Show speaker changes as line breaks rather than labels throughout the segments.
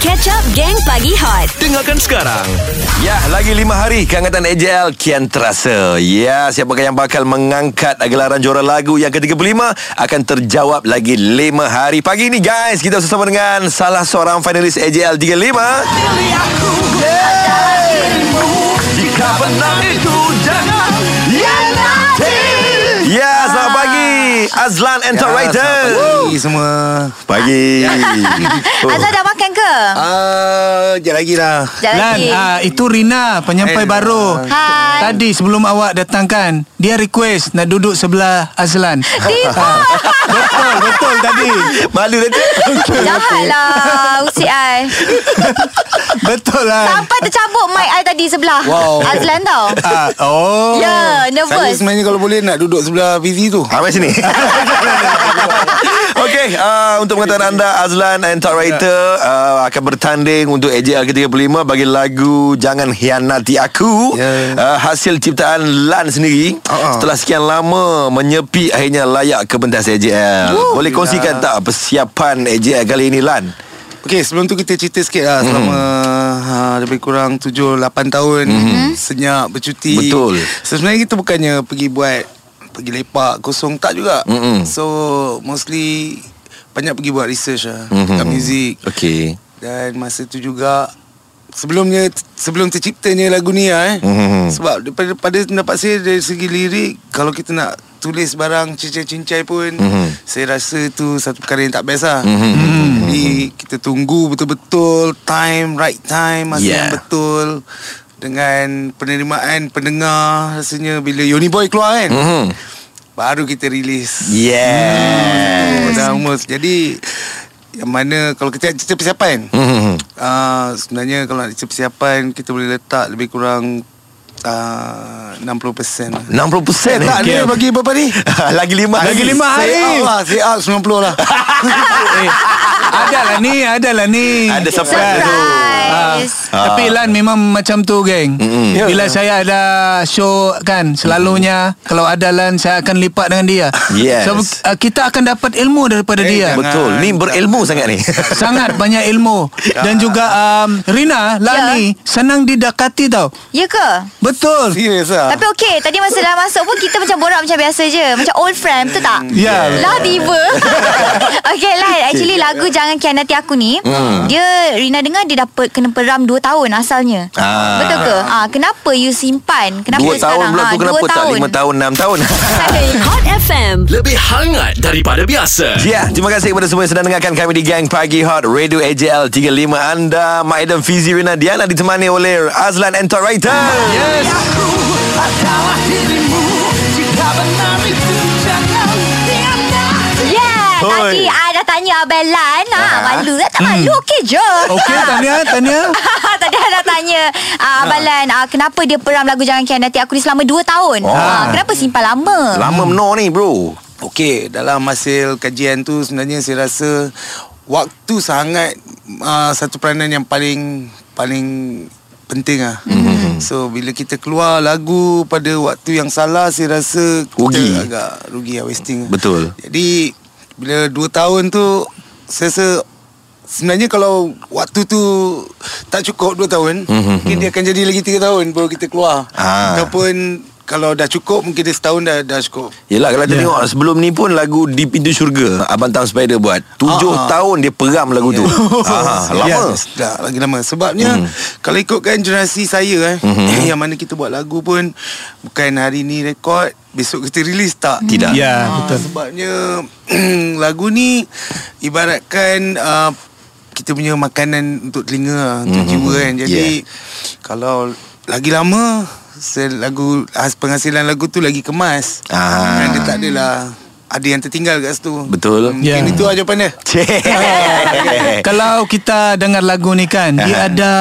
Catch up Gang Pagi Hot
Dengarkan sekarang. Ya, lagi lima hari kehangatan AJL kian terasa. Ya, siapakah yang bakal mengangkat gelaran juara lagu yang ke-35 akan terjawab lagi lima hari. Pagi ini guys, kita bersama dengan salah seorang finalis AJL 35. Jika benar itu jangan Ya, selamat pagi. Azlan Enterwriter.
Pagi semua
Pagi. Oh.
Azlan dah makan ke?
Ah, Sekejap lagi lah
Sekejap
Lan,
lagi.
ah, itu Rina penyampai
Eh,
baru.
Hai.
Tadi sebelum awak datangkan, dia request nak duduk sebelah Azlan. Ah, betul, betul tadi.
Malu dah tu.
Jahat lah Usik I
Betul lah.
Sampai tercabut mic I tadi sebelah
Wow.
Azlan tau
Ah, oh.
Ya yeah,
Saya
nervous
sebenarnya kalau boleh Nak duduk sebelah PZ tu
Sampai sini Okey uh, Untuk pengetahuan anda Azlan and Talk Writer
Ya.
uh, Akan bertanding Untuk AJL ke-35 Bagi lagu Jangan Hianati Aku
Ya. Uh-uh.
uh, Hasil ciptaan Lan sendiri
Ha-ha.
Setelah sekian lama Menyepi Akhirnya layak ke pentas AJL Boleh kongsikan tak Persiapan AJL kali ini Lan
Okay sebelum tu kita cerita sikit lah Selama ha, Lebih kurang 7-8 tahun Senyap Bercuti
Betul.
so, Sebenarnya kita bukannya Pergi buat Pergi lepak Kosong tak juga
Mm-mm.
So Mostly Banyak pergi buat research lah Dekat
Mhm.
muzik
Okey
Dan masa tu juga Sebelumnya Sebelum terciptanya lagu ni lah eh
Mhm.
Sebab daripada, daripada pendapat saya Dari segi lirik Kalau kita nak tulis barang cincai-cincai pun
Mhm.
Saya rasa tu satu perkara yang tak best lah
Mhm.
Jadi kita tunggu betul-betul Time, right time Masa
Yeah.
yang betul Dengan penerimaan pendengar Rasanya bila Yoni Boy keluar kan
Mhm.
Baru kita release Oh,
Yeah
Dah almost Jadi Yang mana Kalau kita cerita persiapan
Mhm.
Uh, sebenarnya kalau nak cerita persiapan kita boleh letak lebih kurang uh, 60% lah.
60% eh?
Tak ni bagi berapa ni?
Lagi lima
Lagi
hari.
lima hari.
Say out lah Say out 90 lah
Eh, ada lah ni, ada lah ni.
Ada surprise tu
Ah,
Surprise
Tapi Lan memang macam tu geng
Mm-mm.
Ya.
Bila saya ada show kan Selalunya Kalau ada Lan Saya akan lipat dengan dia
Yes.
so, uh, Kita akan dapat ilmu daripada
Eh,
dia
jangan.
Betul Ni berilmu sangat ni
Sangat banyak ilmu Dan juga um, Rina Lani Senang didekati tau
Ya ke?
Betul
Serius lah
Tapi okey Tadi masa dah masuk pun Kita macam borak macam biasa je Macam old friend Betul tak?
Ya.
Eh.
Lah tiba Okay lah Actually lagu Jangan Kianati Aku ni
Hmm.
Dia Rina dengar Dia dapat kena peram 2 tahun asalnya
Ah.
Betul ke? Ah, kenapa you simpan? Kenapa
Dua tahun
sekarang?
pula
Ah,
tu
dua
kenapa tak
tahun.
lima tahun enam tahun
Hot FM
Lebih hangat daripada biasa.
Ya, terima kasih kepada semua yang sedang dengarkan kami di Gang Pagi Hot Radio AJL 35 anda Maidan Fizi Rina Diana ditemani oleh Azlan and Tok Writer. Yes.
Yeah Ya,
Hoi. Ah.
Tadi I dah tanya Abel Lan ha, Malu tak, tak malu
Hmm.
Okey je
Oh.
Okey Tania Tania
Tadi I dah tanya uh, Abang Lan uh, Kenapa dia peram lagu Jangan Kianati Aku ni selama 2 tahun
Oh.
Ah, Kenapa simpan lama
Lama menor ni bro.
Okey dalam hasil kajian tu Sebenarnya saya rasa Waktu sangat uh, Satu peranan yang paling Paling penting lah mm-hmm. So bila kita keluar lagu Pada waktu yang salah Saya rasa kita
Rugi.
agak rugi lah wasting lah.
Betul.
Jadi bila 2 tahun tu saya rasa sebenarnya kalau waktu tu tak cukup 2 tahun, mm-hmm. mungkin dia akan jadi lagi 3 tahun baru kita keluar.
Hmm, Ah.
Ataupun kalau dah cukup mungkin dia setahun dah dah cukup.
Yelah kalau yeah. tengok sebelum ni pun lagu Di Pintu Syurga Abang Tam Spider buat Tujuh
Ah.
tahun dia peram lagu tu ah, Lama Hmm.
Ya, dah lagi lama. Sebabnya mm. kalau ikutkan generasi saya eh mm-hmm. yang mana kita buat lagu pun bukan hari ni rekod, besok kita release tak?
Tidak
Ya
Ah,
betul
Sebabnya lagu ni ibaratkan uh, kita punya makanan untuk telinga, lah, untuk mm-hmm. jiwa kan. Jadi
Yeah.
yeah. kalau lagi lama se- lagu has- penghasilan lagu tu lagi kemas.
Ah.
Dan dia tak adalah ada yang tertinggal kat situ.
Betul.
Mungkin yeah.
Yeah.
itu lah jawapan dia.
Eh,
eh. Kalau kita dengar lagu ni kan Dia
Aha.
ada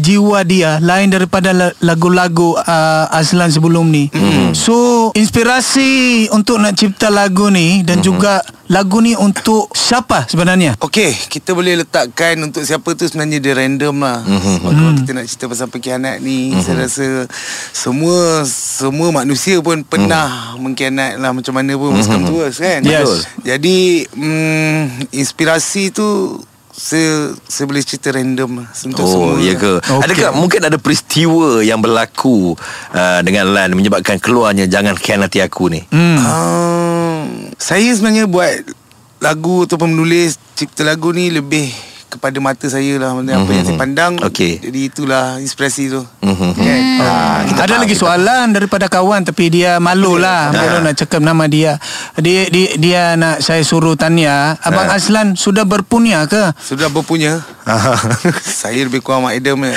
jiwa dia Lain daripada la- lagu-lagu uh, Azlan sebelum ni So inspirasi untuk nak cipta lagu ni Dan juga lagu ni untuk siapa sebenarnya?
Okey, kita boleh letakkan untuk siapa tu sebenarnya dia random lah.
Mhm,
Mm-hmm. Sebab kalau kita nak cerita pasal pengkhianat ni, mm-hmm. saya rasa semua semua manusia pun
Mhm.
pernah mm. mengkhianat lah macam mana pun mm-hmm. tua kan.
Yes. Betul.
Jadi mm, inspirasi tu saya saya boleh cerita random lah untuk
Oh,
semua.
ya ke? Okay.
Okey.
Adakah mungkin ada peristiwa yang berlaku uh, dengan Lan menyebabkan keluarnya jangan khianati aku ni?
Hmm.
Um, saya sebenarnya buat lagu ataupun menulis cipta lagu ni lebih kepada mata saya lah mm-hmm. apa yang saya pandang
Okey.
jadi itulah inspirasi tu
Mhm.
kan
Ah,
Ada
kita faham,
lagi
kita
soalan daripada kawan tapi dia malu lah malu nak cakap nama dia. Dia dia, dia nak saya suruh tanya, abang
Ha.
Azlan sudah berpunya ke?
sudah berpunya saya lebih kurang Mak Adam ya.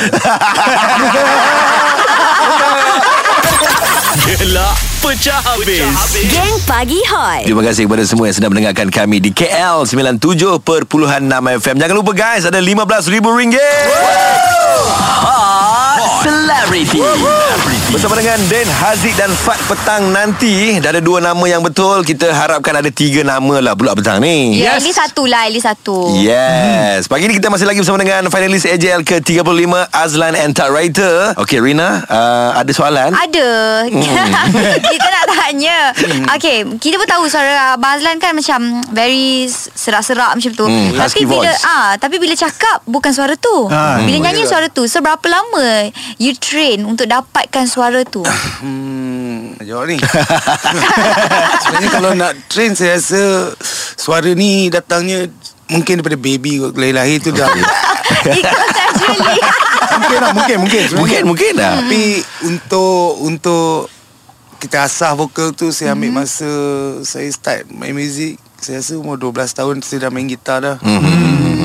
Gelak pecah habis.
Geng Pagi Hot.
Terima kasih kepada semua yang sedang mendengarkan kami di KL 97.6 FM. Jangan lupa guys, ada RM15,000.
Celebrity.
Bersama dengan Dan Haziq dan Fat Petang nanti. Dah ada dua nama yang betul. Kita harapkan ada tiga nama lah pula petang ni.
Ya, yes. Eli satu lah, Eli satu.
Yes. Pagi ni kita masih lagi bersama dengan finalis AJL ke-35 Azlan and Tat Writer. Okey Rina, uh, ada soalan?
Ada
Hmm.
Kita nak tanya Okay Kita pun tahu suara Abang Azlan kan macam Very serak-serak macam tu
Hmm,
Tapi
husky
bila
voice. hmm.
ah, Tapi bila cakap Bukan suara tu
Ah.
Bila nyanyi suara tu So berapa lama You train Untuk dapatkan suara tu
hmm, jawab ni sebenarnya kalau nak train saya rasa suara ni datangnya mungkin daripada baby kot lahir-lahir tu dah
Ikut naturally
mungkin lah mungkin mungkin
Mungkin, mungkin lah.
Tapi untuk untuk kita asah vokal tu saya
Mhm.
ambil masa saya start main muzik saya rasa umur 12 tahun saya dah main gitar dah.
Mhm.
Hmm.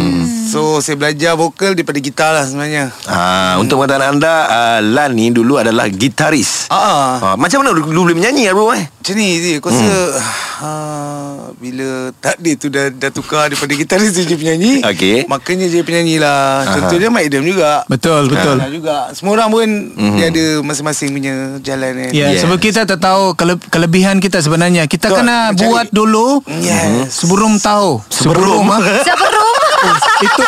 So saya belajar vokal daripada gitar lah sebenarnya.
Ah, untuk pengetahuan anda, uh, Lan ni dulu adalah gitaris.
Ah, ah.
Ah, Hmm. macam mana dulu boleh menyanyi Abang eh?
Macam ni je Kau rasa ah, Bila takdir tu dah, dah tukar Daripada gitaris tu jadi penyanyi
Okey.
Makanya jadi penyanyi lah
Aha.
Contohnya Mike Dem juga
Betul, betul.
Nah, juga Semua orang pun
Mhm.
Dia ada masing-masing punya jalan kan
Ya,
Yes.
yes. sebab kita tak tahu kele- kelebihan kita sebenarnya. Kita
Betul,
kena
kita
buat
cari.
dulu
Mhm.
Yes.
sebelum tahu. Sebelum, ah.
Sebelum
itu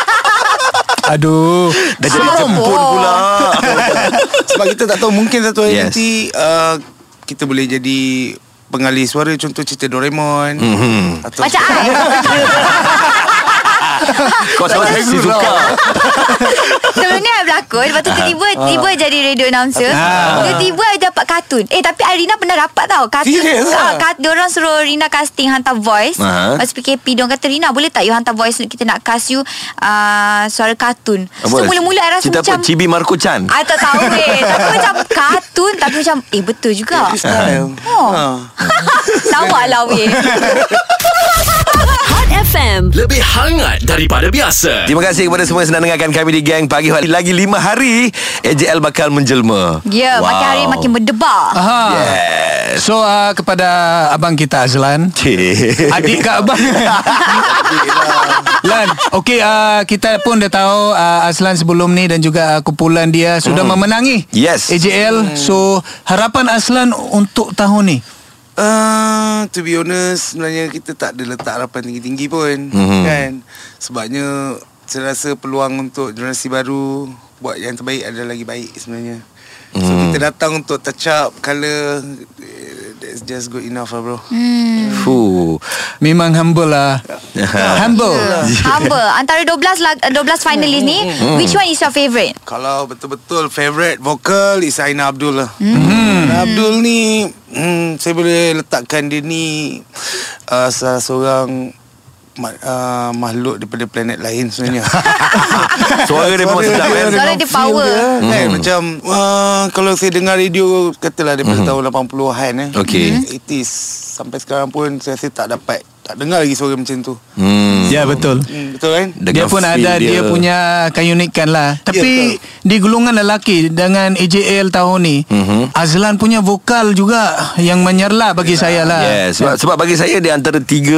Aduh,
Dah jadi jemput
Oh.
pula.
Sebab kita tak tahu Mungkin satu hari
Yes.
yes. nanti uh, Kita boleh jadi Pengalih suara Contoh cerita Doraemon
Mhm.
atau
Macam I
Kau sama saya suka.
Sebelumnya I berlakon Lepas
Ah.
tu tiba-tiba Tiba jadi radio announcer Tiba-tiba I dapat kartun Eh tapi Irina pernah dapat tau Kartun
Serious
ah,
ah?
kat, Diorang suruh Rina casting Hantar voice
Aha.
Lepas PKP Diorang kata Rina boleh tak you hantar voice Kita nak cast you uh, Suara kartun So mula-mula I rasa
Cerita
macam
apa? Cibi Marco Chan.
I tak tahu eh Tapi macam kartun Tapi macam Eh betul juga
Style.
Oh.
Ah.
Lawak lah weh
Hot FM.
Lebih hangat daripada biasa.
Terima kasih kepada semua yang sedang dengarkan kami di Gang Pagi Hot. Lagi 5 hari, AJL bakal menjelma.
Ya yeah, makin hari makin
Ah.
berdebar
Aha.
Yes.
So uh, kepada abang kita Azlan,
Cik.
adik kat abang. Lan, okey uh, kita pun dah tahu uh, Azlan sebelum ni dan juga uh, kumpulan dia sudah memenangi
Yes.
AJL. So harapan Azlan untuk tahun ni.
Uh, to be honest Sebenarnya kita tak ada letak harapan tinggi-tinggi pun
Mhm.
Kan Sebabnya Saya rasa peluang untuk generasi baru Buat yang terbaik ada lagi baik sebenarnya So
Mhm.
kita datang untuk touch up Colour eh, That's just good enough lah bro
Fuh.
Memang humble lah. humble.
Humble Antara 12 lag- 12 finalist ni
Hmm.
Which one is your favourite?
Kalau betul-betul favorite vokal is Aina Abdul lah. Hmm. Aina Abdul ni hmm, saya boleh letakkan dia ni uh, salah seorang ma- uh, makhluk daripada planet lain sebenarnya.
Suara dia memang sedap Hmm. kan?
Suara
dengan
dia
feel
power.
Dia, kan? Macam uh, kalau saya dengar radio katalah
Hmm.
daripada tahun 80-an eh.
Okey.
80s sampai sekarang pun saya rasa tak dapat tak dengar lagi suara macam tu.
Hmm.
Ya betul.
Hmm, betul kan?
Dia
Dengan
pun
feel
ada dia. dia punya keunikan lah. Tapi di golongan lelaki dengan AJL tahun ni,
Mhm.
Azlan punya vokal juga yang menyerlah bagi saya lah.
Yes, sebab, sebab bagi saya dia antara tiga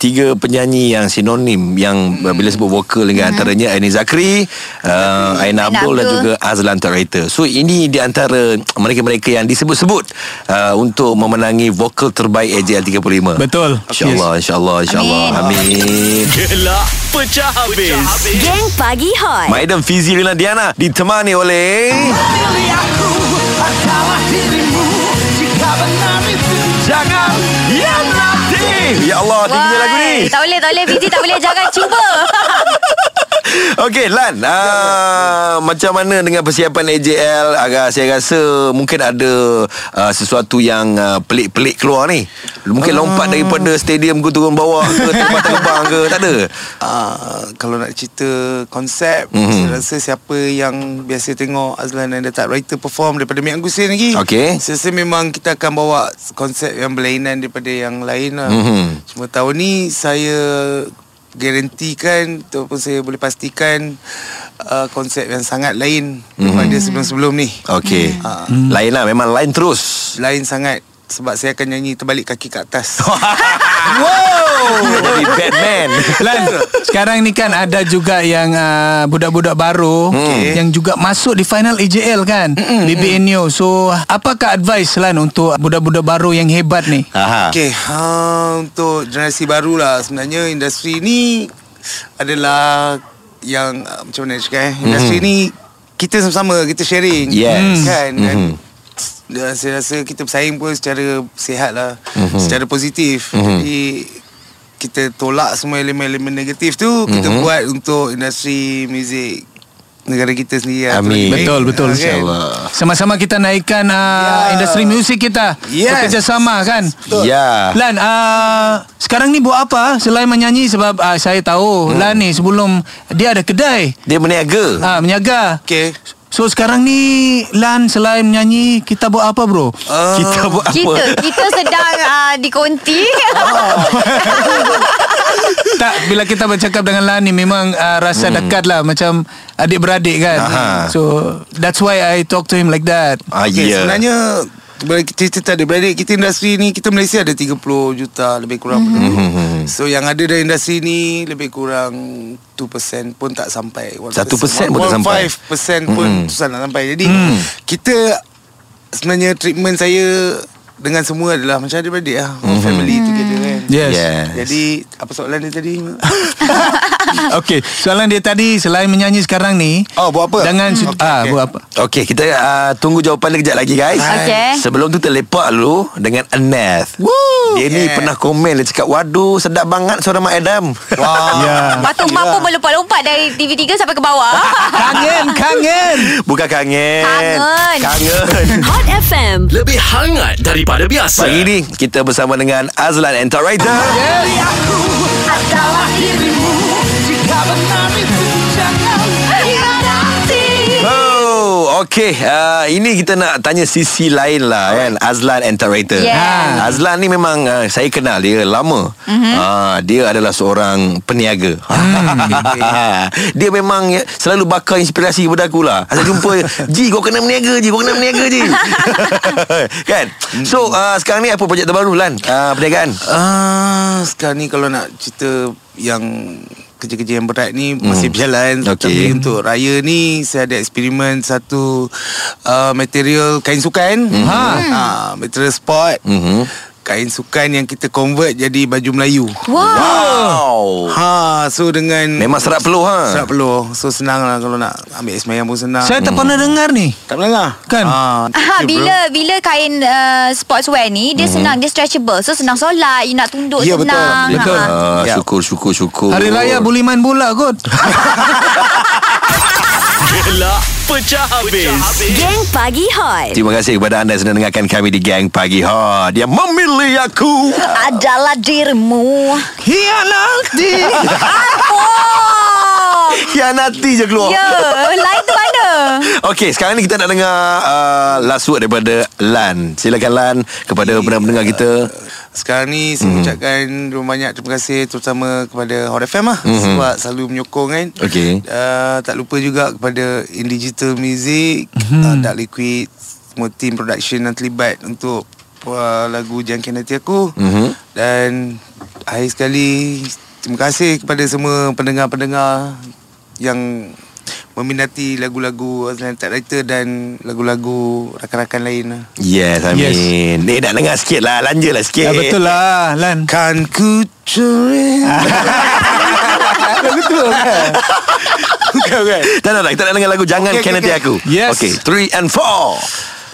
tiga penyanyi yang sinonim yang bila sebut vokal dengan antaranya Aini Hmm. Zakri, uh, Aina Abdul dan
Abdul.
juga Azlan Taraita. So ini di antara mereka-mereka yang disebut-sebut uh, untuk memenangi vokal terbaik AJL 35.
Betul.
InsyaAllah, insyaAllah, insyaAllah. Amin.
Gelak pecah habis.
Geng Pagi Hot.
Maidam Fizi Rina Diana ditemani oleh Jangan yang nanti Ya Allah tingginya lagu ni
Tak boleh, tak boleh Fizi tak boleh Jangan cuba
Okey Lan uh, Macam mana dengan persiapan AJL Agak saya rasa Mungkin ada uh, Sesuatu yang uh, Pelik-pelik keluar ni Mungkin lompat daripada Stadium ke turun bawah Ke tempat terbang ke Tak ada
Uh, kalau nak cerita konsep
Mhm.
mm-hmm. Saya rasa siapa yang Biasa tengok Azlan and the Type Writer Perform Daripada Mian Gusin lagi
Okey.
Saya rasa memang kita akan bawa Konsep yang berlainan Daripada yang lain lah
Mhm.
Cuma tahun ni Saya Garantikan Ataupun saya boleh pastikan uh, Konsep yang sangat lain Daripada
Mhm.
sebelum-sebelum ni
Okey hmm. Lain lah Memang lain terus
Lain sangat Sebab saya akan nyanyi Terbalik kaki ke atas
Wow Jadi Batman
Lan, sekarang ni kan ada juga yang uh, budak-budak baru
Hmm.
yang juga masuk di final AJL kan, BBN Neo. So, apakah advice Lan untuk budak-budak baru yang hebat ni?
Aha.
Okay, ha, untuk generasi baru lah sebenarnya industri ni adalah yang ah, macam mana nak cakap eh? Industri mm-hmm. ni kita sama-sama kita sharing
Mhm. Yes.
kan
Mhm.
dan dan saya rasa kita bersaing pun secara sihat lah
Mhm.
mm-hmm. secara positif mm-hmm. jadi kita tolak semua elemen-elemen negatif tu mm-hmm.
Mhm.
kita buat untuk industri muzik negara kita sendiri lah. Tu
Amin.
lebih baik.
Betul, betul.
Ah, kan?
InsyaAllah
Sama-sama kita naikkan uh,
Ya.
industri muzik kita.
Yes.
Bekerjasama kan?
Ya
Lan, uh, sekarang ni buat apa selain menyanyi sebab uh, saya tahu hmm. Lan ni sebelum dia ada kedai
Dia berniaga
uh, menyaga.
Okay.
So sekarang ni Lan selain menyanyi kita buat apa bro?
Ah.
Kita buat apa
Kita kita sedang uh, dikonti.
tak bila kita bercakap dengan Lan ni memang uh, rasa hmm. dekat lah macam adik-beradik kan.
Aha.
So that's why I talk to him like that.
Ah, ya.
Okay, yeah. Sebenarnya bila kita cerita tadi beradik kita industri ni kita Malaysia ada 30 juta lebih
Mhm.
kurang mm-hmm. penduduk. So yang ada dari industri ni lebih kurang 2% pun tak sampai. 1%,
1% pun tak sampai. Mhm.
1.5% pun
Mm-mm.
mm-hmm. susah nak sampai. Jadi mm. kita sebenarnya treatment saya dengan semua adalah macam adik-beradik lah. Mm-hmm. Family together kan.
Yes.
Mhm. Yes.
Jadi apa soalan dia tadi?
Okay. Soalan dia tadi selain menyanyi sekarang ni
oh buat apa?
dengan hmm. okay, ah okay. buat apa?
Okey, kita uh, tunggu jawapan dia kejap lagi guys.
Okey.
Sebelum tu terlepak dulu dengan Aneth. Woo! Dia ni
Yeah.
pernah komen dia cakap, "Waduh, sedap banget suara Mak Adam."
Wow.
Ya.
Ah,
Lepas tu mak pun melompat-lompat dari TV3 sampai ke bawah.
Kangen, kangen.
Bukan kangen.
Kangen.
Kangen.
Hot FM.
Lebih hangat daripada biasa.
Pagi ni kita bersama dengan Azlan and Tok Writer. Oh, okey. Uh, ini kita nak tanya sisi lain lah kan. Azlan and Tok Writer.
Yeah.
Ha.
Azlan ni memang uh, saya kenal dia lama. Mm-hmm. Uh, dia adalah seorang peniaga. dia memang ya, selalu bakar inspirasi kepada aku lah. Asal jumpa, Ji kau kena meniaga Ji, kau kena meniaga Ji. kan? So uh, sekarang ni apa projek terbaru Lan? Uh, perniagaan?
Ah, sekarang ni kalau nak cerita yang kerja-kerja yang berat ni hmm. masih berjalan
Okey.
tapi untuk raya ni saya ada eksperimen satu uh, material kain sukan hmm. ha uh, material sport
Mhm.
hmm. kain sukan yang kita convert jadi baju Melayu
Wow.
Wow.
ha so dengan
Memang serap peluh ha.
serap peluh so senang lah kalau nak ambil semayang pun senang
Saya tak pernah dengar ni.
tak melanggar
Kan?
ah,
Ha,
okay, bro.
bila bila kain uh, sportswear ni dia senang dia stretchable so senang solat you nak tunduk
Ya, betul.
senang
Mhm. Betul.
Ha.
Ah,
Ya.
syukur syukur syukur.
Hari Raya boleh main bola kot.
Gelak pecah habis.
Geng Pagi Hot.
Terima kasih kepada anda yang sedang dengarkan kami di Gang Pagi Hot. Dia memilih aku.
adalah Ah, dirimu
Hianati.
oh
Hianati je keluar.
ya lain tu mana
Okey, sekarang ni kita nak dengar uh, last word daripada Lan. Silakan Lan kepada yeah. pendengar kita.
Sekarang ni saya mm. ucapkan Terima banyak terima kasih Terutama kepada Hot FM lah mm-hmm. Sebab selalu menyokong kan
Okey.
uh, Tak lupa juga kepada In Digital Music mm-hmm. uh, Dark Liquid Semua team production yang terlibat Untuk uh, lagu Jangkin Hati Aku mm-hmm. Dan akhir sekali Terima kasih kepada semua pendengar-pendengar Yang meminati lagu-lagu Azlan Tak Writer Dan lagu-lagu rakan-rakan lain lah
Yes, Amin. Yes.
Yes.
Ni nak dengar sikit lah. Lanja lah
ya
sikit.
betul lah Lan.
Kan ku curi Lagu tu kan Bukan bukan
Tak nak, kita nak dengar lagu Jangan okay,
Okey,
Kennedy
okey,
Aku.
Yes.
Okay, three and four.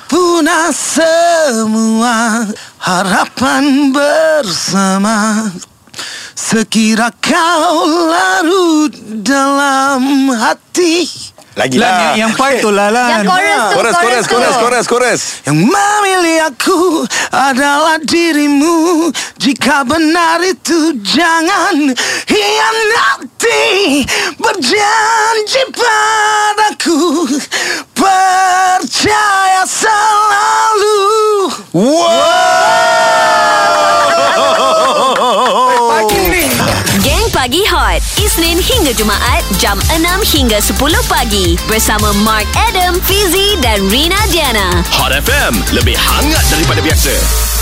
Punah semua harapan bersama Sekira kau larut dalam hati
Lagi
Lan,
lah.
yang, yang part tu lah
Yang
Lan
chorus tu
Kan? Chorus, chorus,
tu.
chorus, chorus, chorus.
Yang memilih aku adalah dirimu Jika benar itu jangan hianati Berjanji padaku Percaya selalu
Wow.
Geng Pagi Hot Isnin hingga Jumaat Jam 6 hingga 10 pagi Bersama Mark Adam Fizi dan Rina Diana
Hot FM Lebih hangat daripada biasa